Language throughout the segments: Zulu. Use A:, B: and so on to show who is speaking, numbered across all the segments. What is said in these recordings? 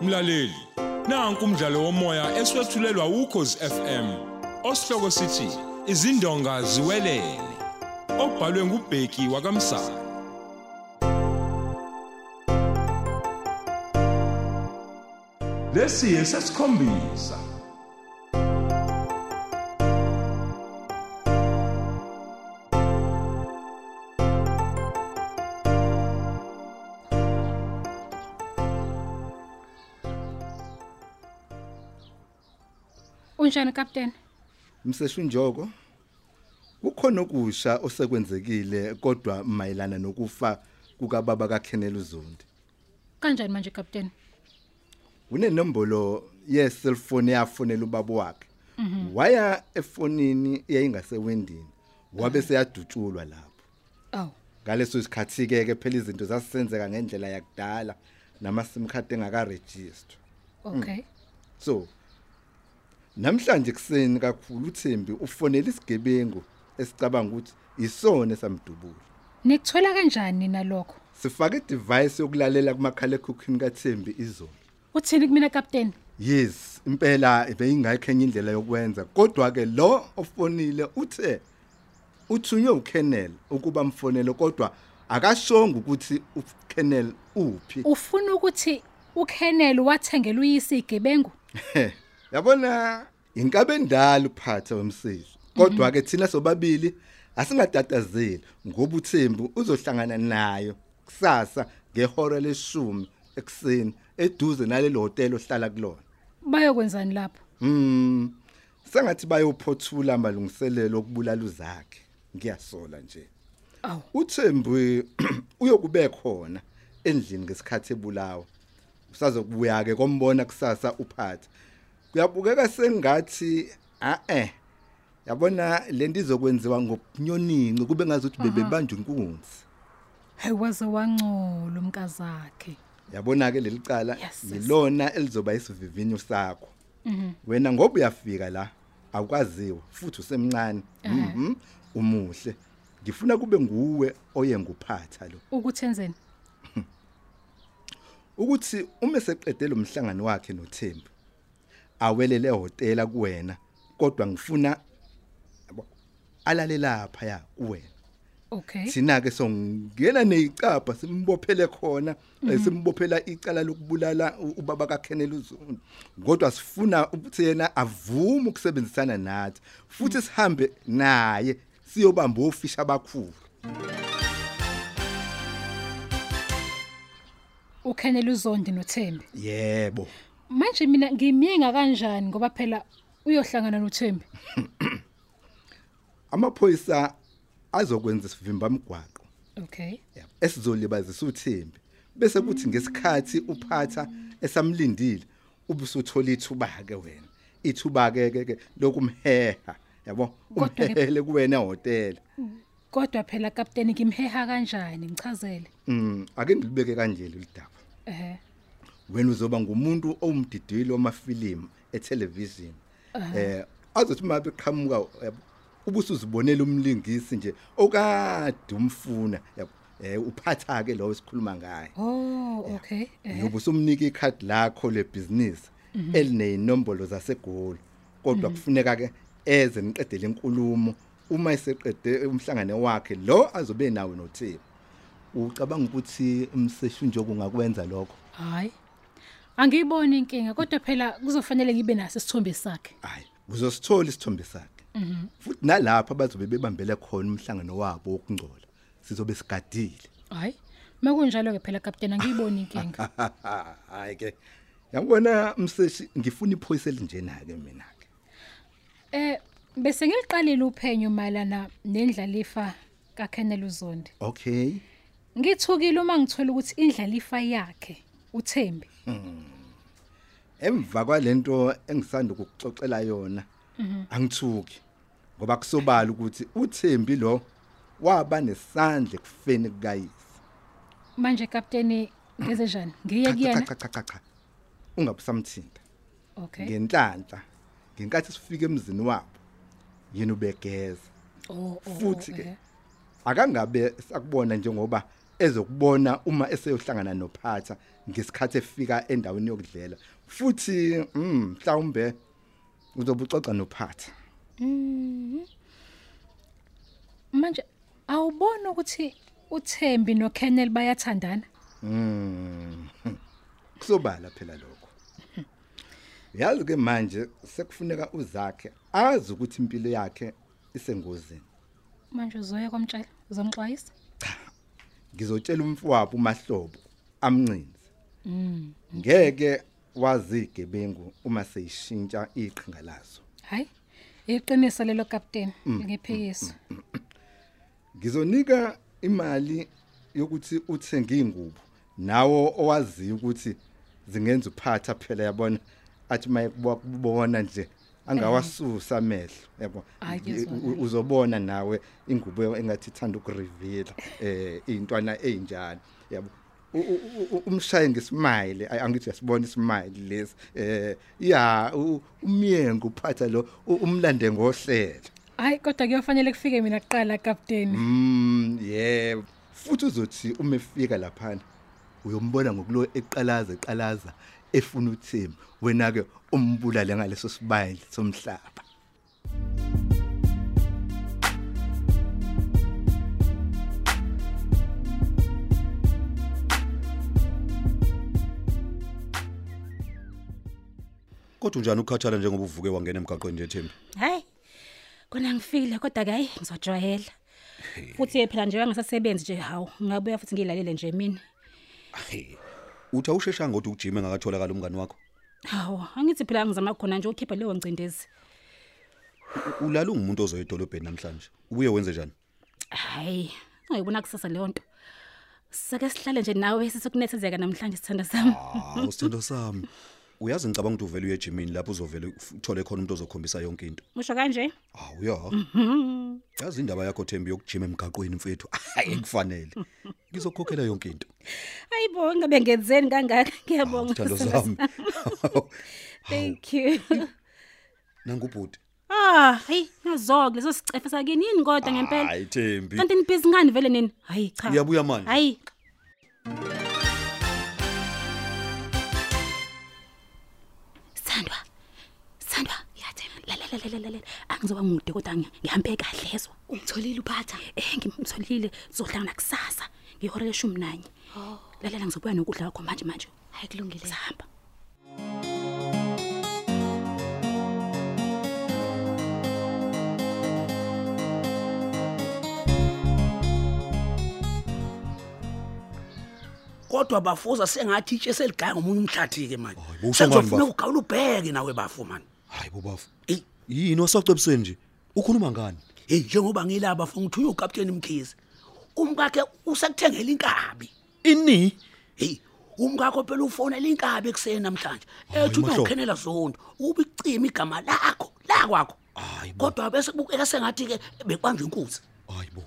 A: mlaleli nanku umdlalo womoya eswetshulelwa ukhozi FM osihloko sithi izindonga ziwelele obhalwe ngubheki wakamsana lesi esesikhombisa
B: Unjani kapteni?
C: Mseshunjoko kukhona okusha osekwenzekile kodwa mayelana nokufa kukababa kaKhenel uZondi.
B: Kanjani manje kapteni?
C: Unenombolo yeselfone yafonela ubaba wakhe. Waya efonini yayingasewendini wabe seyadutshulwa lapho.
B: Aw.
C: Ngaleso sikhathi ke ke phela izinto zasisenzeka ngendlela yakudala namasimkhati engakaregister.
B: Oh, Okay.
C: So namhlanje kuseni kakhulu uThembi ufonela isigebengu esicabanga ukuthi isona samdubula.
B: Nikuthola kanjani nalokho?
C: Sifake i-device yokulalela kumakhala ekhukhwini kaThembi izolo.
B: Uthini kumina kapteni?
C: Yes, impela beyingakho enye indlela yokwenza. Kodwa ke lo ofonile uthe uthunywe uKennel ukuba mfonele kodwa akashonga ukuthi uKennel uphi.
B: Ufuna ukuthi uKennel wathengela uyisi igebengu?
C: He, yabona inkabe endala uphatha wemsizwe kodwa ke thina sobabili asingatatazeli ngoba uThembu uzohlangana nayo kusasa ngehora leshumi ekuseni eduze nalelo hotel ohlala kulona
B: Bayokwenzani lapho?
C: mhm sengathi bayophothula amalungiselelo okubulala uzakhe ngiyasola nje
B: Aw.
C: uThembu uyokube khona endlini ngesikhathi ebulawa usazokubuya ke kombona kusasa uphatha kuyabukeka sengathi a eh yabona lento izokwenziwa ngobunyoninci kube ngazuthi
B: Mhm.
C: bebebanjwe inkunzi
B: Hey waze wangcola umkazakhe.
C: yabona ke lelicala
B: Yes, Mhm. yes.
C: yilona elizoba isivivinyo sakho wena ngoba uyafika la awukaziwa futhi usemncane mhm umuhle ngifuna kube nguwe oye nguphatha lo
B: Ukuthi enzeni?
C: ukuthi uma seqedela umhlangano wakhe noThembi awelele ehotela kuwena kodwa ngifuna yabo, alale lapha ya kuwena
B: Okay.
C: sina ke songena neicapha simbophele khona eh, simbophela icala lokubulala u- ubaba kaKhenel uZunu kodwa sifuna ukuthi yena avume ukusebenzisana nathi futhi sihambe naye siyobamba ofisha abakhulu
B: UKennel uzondi noThembi.
C: yebo
B: Manje mina ngimyenga kanjani ngoba phela uyohlangana noThembi.
C: amaphoyisa azokwenza isivimba mgwaqo
B: Okay.
C: yabo esizolibazisa uThembi bese kuthi ngesikhathi uphatha esamlindile ubusuthola ithuba ke wena ithuba ke ke lokumheha yabo
B: Kodwa-ke-
C: umhehele kuwena ehotela
B: Kodwa phela kapteni ngimheha kanjani? Ngichazele.
C: mm ake ngilibeke kanje lidaba
B: Eh.
C: wena uzoba ngumuntu owumdidili wamafilimu etelevision eh azothi mabe qhamuka yabo, ubusuzibonela umlingisi nje okade umfuna yabo eh uphatha ke lo esikhuluma ngaye
B: Oh, okay. Eh.
C: uyobe usumnika ikhadi lakho lebhizinisi elineyinombolo zasegoli kodwa kufuneka ke eze niqedele inkulumo uma eseqede umhlangano wakhe lo azobe nawe noThembi ucabanga ukuthi umseshi nje kungakwenza lokho
B: Hayi. Angiyiboni inkinga kodwa phela kuzofanele ngibe naso isithombe sakhe.
C: hayi uzosithola isithombe sakhe futhi nalapha bazobe bebambele khona umhlangano wabo wokungcola sizobe sigadile
B: Hayi. Mekunjalo ke phela kapteni angiyiboni inkinga.
C: hayi ke yangibona umseshi ngifuna iphoyisa elinjena ke mina ke
B: Eh bese ngiliqalile uphenyo malana nendlalifa kaKennel uZondi.
C: okay
B: Ngithukile uma ngithola ukuthi indlalifa yakhe uThembi.
C: emva kwalento engisanda ukuxoxela yona angithuki ngoba kusobala ukuthi uThembi lo waba nesandla kufeni kukayise
B: Manje kapteni ngeze njani? Ngiye kuyena.
C: cha cha cha cha ungabusamthinta
B: Okay.
C: ngenhlanhla ngenkathi sifika emzini wabo yena ubegeza
B: Oh, oh, oh,
C: futhi ke
B: eh.
C: akangabe sakubona njengoba ezokubona uma eseyohlangana nophatha ngesikhathi efika endaweni yokudlela futhi mm mhlawumbe uzobucoca nophatha
B: manje awubona ukuthi uThembi noKennel bayathandana
C: kusobala phela lokho yazi ke manje sekufuneka uzakhe azi ukuthi impilo yakhe isengozini
B: manje uzoya kwamtshela uzomxwayisa
C: ngizotshela umfowabo umahlobo amncinzi ngeke wazigebengu uma seyishintsha iqhinga lazo
B: hayi iqiniso lelo captain
C: Mm,
B: ngephekiso
C: ngizonika imali yokuthi uthenge ingubo nawo owaziyo ukuthi zingenza uphatha phela yabona athi mayekubona nje angawasusa amehlo yabo
B: Hhayi,
C: Ngi-
B: ngiyezwa.
C: u- uzobona nawe ingubo engathi ithanda ukureveal eh intwana einjani yabo U- u- u- u- umshaye ngesimile ay- angithi yasibona isimile lesi eh ya u- umyengo uphatha lo u- umlande ngohlelo
B: hayi kodwa kuyofanele kufike mina kuqala captain
C: Mm yebo. Futhi uzothi uma efika lapha uyombona ngokulo eqalaza eqalaza efuna uThembu. Wena ke umbulale ngaleso sibayile somhlaba.
D: kodwa unjani ukukhathala njengoba uvuke wangena emgaqweni nje Thembi
E: hayi kona ngifikile kodwa ke hayi ngizojwayela futhi phela nje angasasebenzi nje hawu ngabuya futhi ngilalele nje mina
D: uthi awusheshanga kodwa ukujima engakatholakala umngani wakho
E: hawu angithi phela ngizama khona nje ukhipha leyo ngcindezi
D: U- ulala ungumuntu ozoya edolobheni namhlanje ubuye wenze njani
E: hayi ungayibona kusasa leyo nto sake sihlale nje nawe sisokunethezeka namhlanje sithanda sami
D: Ah. hawu sithando sami uyazi ngicabanga ukuthi uvele uye ejimini lapho uzovele uf- uthole khona umuntu ozokhombisa yonke into
E: usho kanje
D: hawu ya yazi indaba yakho Thembi yokujima emgaqweni mfethu hayi kufanele ngizokhokhela yonke into
E: hayibo ngabe ngenzeni kangaka
D: Hawu,
E: ngiyabonga
D: sithando
E: sithanda
D: sami
E: thank you
D: nangubhuti
E: ah hayi nazoke leso sicefe sakini yini kodwa ngempela
D: hayi Thembi
E: kanti nibhizi ngani vele nini hayi cha
D: uyabuya manje
E: hayi sithandwa sithandwa ngiyathemba lalela lalela lalela angizoba mude kodwa ngi- ngihambe kahle ezwa ungitholile uphatha eh ngimtholile sizohlangana kusasa ngihora leshumi nanye lalela ngizobuya nokudla kwakho manje manje hayi Oh. kulungile sihamba
F: kodwa bafuza sengathi itshe seligaya ngomunye umhlathi-ke manje
D: Hayi, bowusho ngani,
F: sekuzofuna
D: bafu?
F: ukugawula ubheke nawe bafu mani
D: hayi bobafu
F: eyi
D: yini wasacebiseni nje ukhuluma ngani
F: heyi njengoba ngilaba funa ukuthi uyukapteni mkhize umkakhe usekuthengela inkabi
D: ini
F: heyi umkakho phela ufonela inkabi ekuseni namhlanje ethi ube
D: Mahlobo.
F: ukhenela zonto ube icima igama lakho la kwakho
D: Hayi bo.
F: kodwa bese kubukeka sengathi-ke bekubanjwe inkunzi
D: hayi bo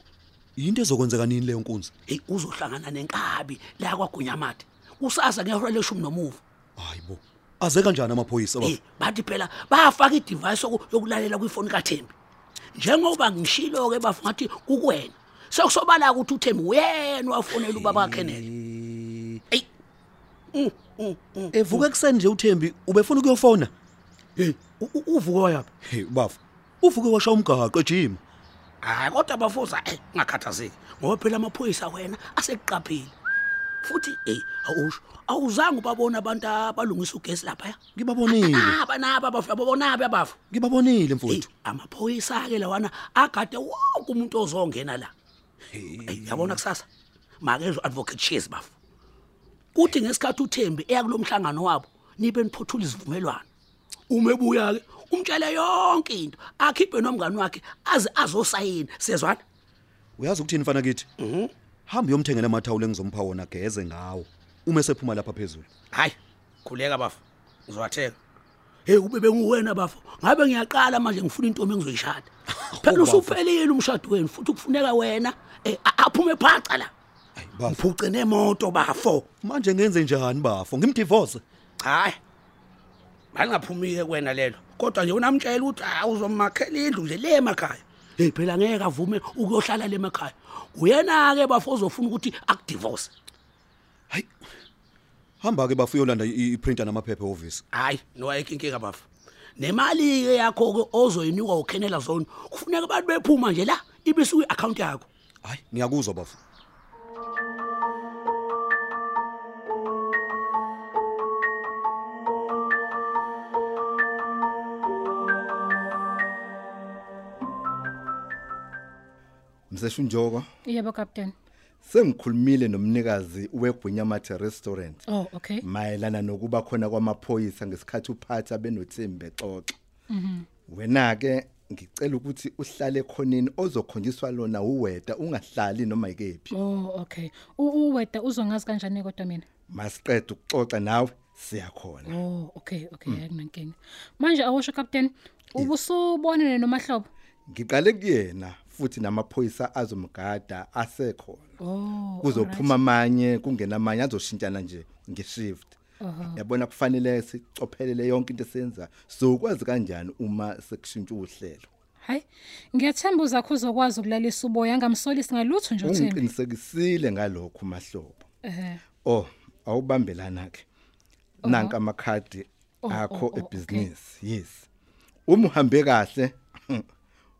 D: yinto ezokwenzeka nini leyo nkunzi
F: heyi uzohlangana nenkabi la kwagunyamade kusasa ngehora leshumi nomuva
D: hayi bo aze kanjani amaphoyisa
F: Eh
D: baba
F: bathi phela bayafaka i-device yoku- yokulalela kwifoni kaThembi. Njengoba ngishilo ke bafungathi kukwena. Sekusobala ukuthi uThembi uyena wafonela ubaba kaKenneth. Ey. Mm, mm, mm.
D: evuke ekuseni nje uthembi ubefuna ukuyofona
F: Eh uvuka yapi?
D: hey bafu uvuke washaya umgaqo ejima
F: Hayi kodwa bafuza eh ngakhathazeki. Ngoba phela amaphoyisa wena asekuqaphile. Futhi eh awusho awuzange ubabona abantu abalungisa ugesi lapha.
D: ngibabonile
F: Ah banaba abafu babona abafu.
D: ngibabonile
F: Hey,
D: mfowethu
F: amaphoyisa ke Eh, lawana agade wonke umuntu ozongena la. Hey, yabona kusasa. Makezo advocate cheese bafu. Kuthi ngesikhathi uThembi eya kulomhlangano wabo, nibe niphothula izivumelwano. Uma ebuya ke, umtshele yonke into, akhiphe nomngani wakhe aze azosayina. Sezwana? Eh.
D: uyazi ukuthini mfana kithi
F: Mhm.
D: hambe uyomthengela amathawulo engizompha wona geze ngawo uma esephuma lapha phezulu
F: Hayi, khuleka bafu. Uzowatheka. Hey ube benguwena bafu. Ngabe ngiyaqala manje ngifuna intombi engizoyishada. Phela
D: bafu.
F: usuphelile umshado wenu futhi kufuneka wena eh, a- aphume phaca la.
D: hayi bafu
F: mphuce nemoto bafo
D: manje ngenze njani bafo ngimdivorce
F: hayi bangaphumike kuwena lelo kodwa nje unamtshela ukuthi hayi uzomakhela indlu nje le emakhaya
G: hey phela ngeke avume ukuyohlala le emakhaya uyena ke bafo ozofuna ukuthi akudivorce
D: hayi hamba ke bafuyolanda iprinter namaphepha ehhovisi
G: hayi nowayekho inkinga bafo nemali ke yakho ke ozoyinikwa ukhenela zone kufuneka abantu bephuma nje la ibisuke iaccount yakho
D: hayi ngiyakuzwa bafu
C: Mseshu Njoko,
B: yebo kapteni
C: sengikhulumile nomnikazi weGwinyamathi restaurant
B: oh okay
C: Mm. mayelana nokuba khona kwamaphoyisa ngesikhathi uphatha benothembe xoxa. Wena ke ngicela ukuthi uhlale khoneni ozokhonjiswa lona uweda ungahlali noma ikephi.
B: oh okay U- uweda uzongazi kanjani kodwa mina
C: Masiqede ukuxoxa nawe siyakhona.
B: oh okay
C: Mm.
B: okay akunankinga manje awusho kapteni ubusubonene nomahlobo
C: Ngiqale kuyena futhi namaphoyisa azomgada asekhona.
B: oh
C: kuzophuma amanye kungena amanye azoshintshana nje ngeshift yabona kufanele sicophelele yonke into esenza so ukwazi kanjani uma sekushintsha uhlelo
B: hayi ngiyathemba uzakho uzokwazi ukulalisa uboya angamsolisi ngalutho nje uthembi
C: ungiqinisekisile ngalokho mahlobo
B: ehe
C: oh awubambelana ke nanka amakhadi
B: Uh-huh. Oh, oh,
C: akho
B: oh,
C: ebusiness yes uma uhambe kahle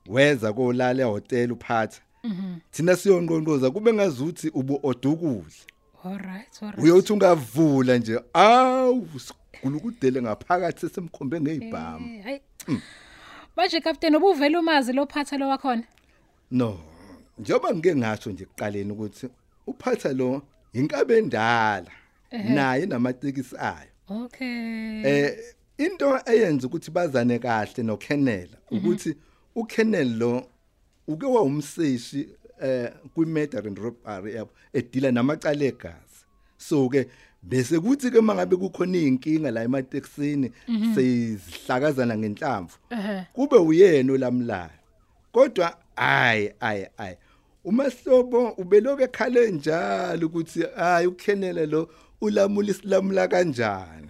C: weza kolala ehotel uphatha
B: Mm-hmm.
C: thina siyonqonqoza kube ngazuthi ubu odukudla
B: alright alright
C: uyothi ungavula nje awu sigulukudele ngaphakathi sesimkhombe ngezibhamu
B: Eh, hayi
C: Mm.
B: manje kapteni ubuvela umazi lo phatha lo wakhona
C: no njengoba ngike ngasho nje ekuqaleni ukuthi uphatha lo inkabe endala naye namatekisi ayo
B: okay
C: eh into eyenza ukuthi bazane kahle noKenela ukuthi uKenel lo uke wawumseshi eh kwi-murder and robbery yabo edila namacala egazi so ke bese kuthi ke mangabe kukhona izinkinga la emateksini seyizihlakazana ngenhlamvu
B: Ehhe.
C: kube uyena olamlayo kodwa ayi ayi ayi umahlobo ubeloke ekhale njalo ukuthi hayi ukhenele lo ulamula isilamula kanjani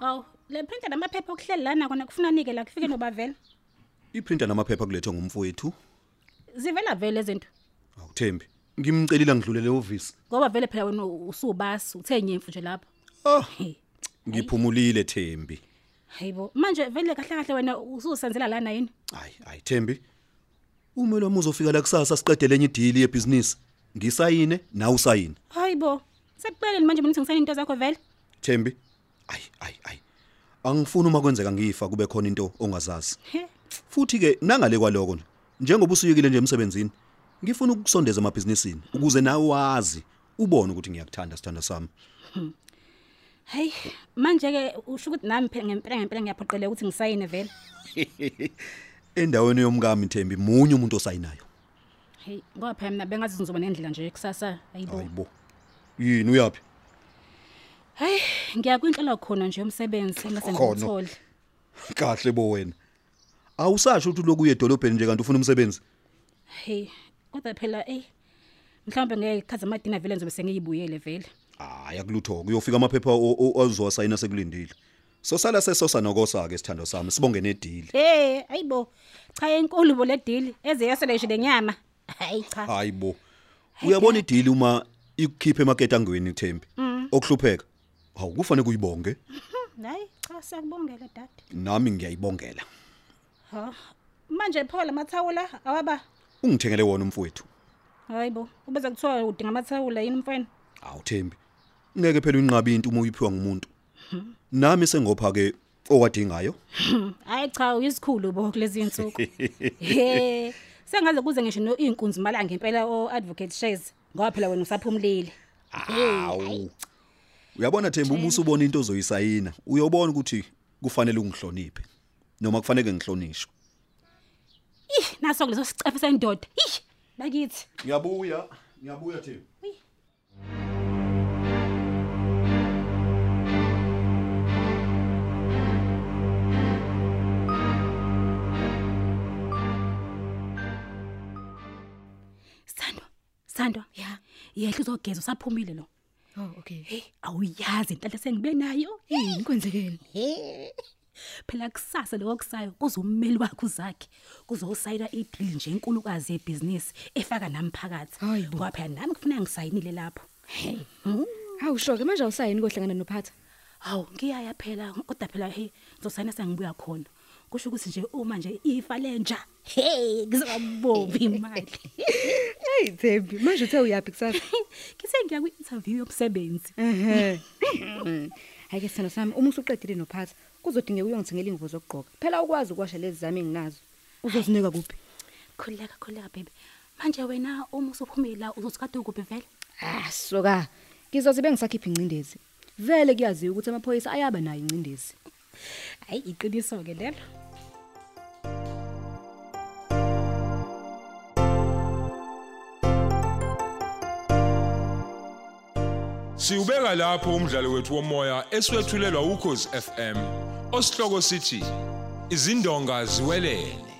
F: Aw, le printer namaphepha okuhleli lana kona kufuna nike la kufike noba vele.
D: iprinter namaphepha kulethwe ngumfowethu
F: Zivela vele izinto.
D: awuthembi ngimcelile ngidlulele ehhovisi
F: Ngoba vele phela wena usubasi, uthe nyemfu nje lapha.
D: oh
F: Hey.
D: ngiphumulile thembi
F: Hayibo, manje vele kahle kahle wena ususenzela lana yini?
D: hayi hayi thembi umeli wami uzofika la kusasa siqedele enye idili yebhizinisi ngisayine nawe usayine
F: Hayibo. Sekuqeleni manje mina ukuthi ngisayini into zakho vele?
D: thembi ayi ayi ayi angifuni uma kwenzeka ngifa kube khona into ongazazi
F: He.
D: futhi ke nangale kwaloko nje njengoba usuyekile nje emsebenzini ngifuna ukusondeza emabhizinisini ukuze nawe wazi ubone ukuthi ngiyakuthanda sithanda sami
F: Hey, manje ke usho ukuthi nami phela ngempela ngempela ngiyaphoqeleka ukuthi ngisayine vele.
D: endaweni yomkami thembi munye umuntu osayinayo
F: Hey, ngoba phela mina bengathi ngizoba nendlela nje kusasa. Hayibo.
D: hayibo yini uyaphi
F: Hey, ngiyakwinhlelo khona nje umsebenzi mase
D: Khona.
F: ngithole.
D: kahle bo wena awusasho ukuthi uloku uye edolobheni nje kanti ufuna umsebenzi
F: Hey, kodwa phela hey mhlawumbe ngekhaza amadina vele ngizobe sengiyibuyele vele.
D: hayi akulutho kuyofika amaphepha o- o- ozowasayina sekulindile sosala sesosa nokosa ke sithando sami sibonge nedili
F: Hey, ayibo. Cha enkulu bo le deal ezeyasela nje lenyama. Hayi
D: Ah.
F: cha.
D: hayibo uyabona idili uma ikukhiphe emaketangweni thembi okuhlupheka hawu kufanele kuyibonge
F: Hayi cha siyakubongela dad.
D: nami ngiyayibongela
F: Ha. Manje Paul amathawula awaba.
D: ungithengele wona umfowethu
F: Hayibo, ubeza kuthiwa udinga amathawula yini mfana?
D: awuthembi ngeke phela uyinqabe into uma uyiphiwa ngumuntu nami sengopha ke owadingayo
F: Hayi cha uyisikhulu bo kulezi insuku. He. Sengaze kuze ngisho no inkunzi imali angempela o advocate shares. Ngoba phela wena usaphumlile.
D: awu uyabona thembi uma usubona into ozoyisayina uyobona ukuthi kufanele ungihloniphe noma kufanele ngihlonishwe
F: Ih, naso kuleso sicefe sendoda. Ih, bakithi.
D: ngiyabuya ngiyabuya thembi
F: Sando. Sithandwa.
H: Ya.
F: Yehla uzogeza usaphumile lo.
H: Oh, okay.
F: Hey, Eh, awuyazi inhlanhla sengibe nayo.
H: Hey, kwenzekeni? Eh.
F: Phela kusasa lokho kusayo kuzommeli wakhe uzakhe. Kuzosayina ideal nje enkulukazi yebhizinisi efaka nami phakathi.
H: Hayi bo.
F: Ngoba phela nami kufuna ngisayinile lapho. Hey.
H: Awushoke manje awusayini kohlangana noPhatha.
F: Hawu ngiyaya phela kodwa phela hey ngizosayina sengibuya khona. Kusho ukuthi nje uma nje ifa lenja. Hey, ngizobabomba imali.
H: Hey Thembi, manje uthe uyapi kusasa?
F: Kise ngiya kwi-interview yomsebenzi.
H: Mm. Ehhe. Hayi ke sithando sami, uma usuqedile noPhatha, kuzodingeka uyongithengela ingubo zokugqoka. Phela ukwazi ukwasha lezi zami enginazo. Uzozinika kuphi?
F: Khuleka khuleka baby. Manje wena uma usuphumile uzozikade ukuphi vele?
H: Ah, soka. Ngizozibe ngisakhipha incindezi. Vele kuyaziwa ukuthi amaphoyisa ayaba nayo incindezi.
F: Hayi iqiniso ke lelo.
A: Siubeka lapho umdlalo wethu womoya eswetshulelwa ukhozi FM. Osihloko sithi izindonga ziwelele.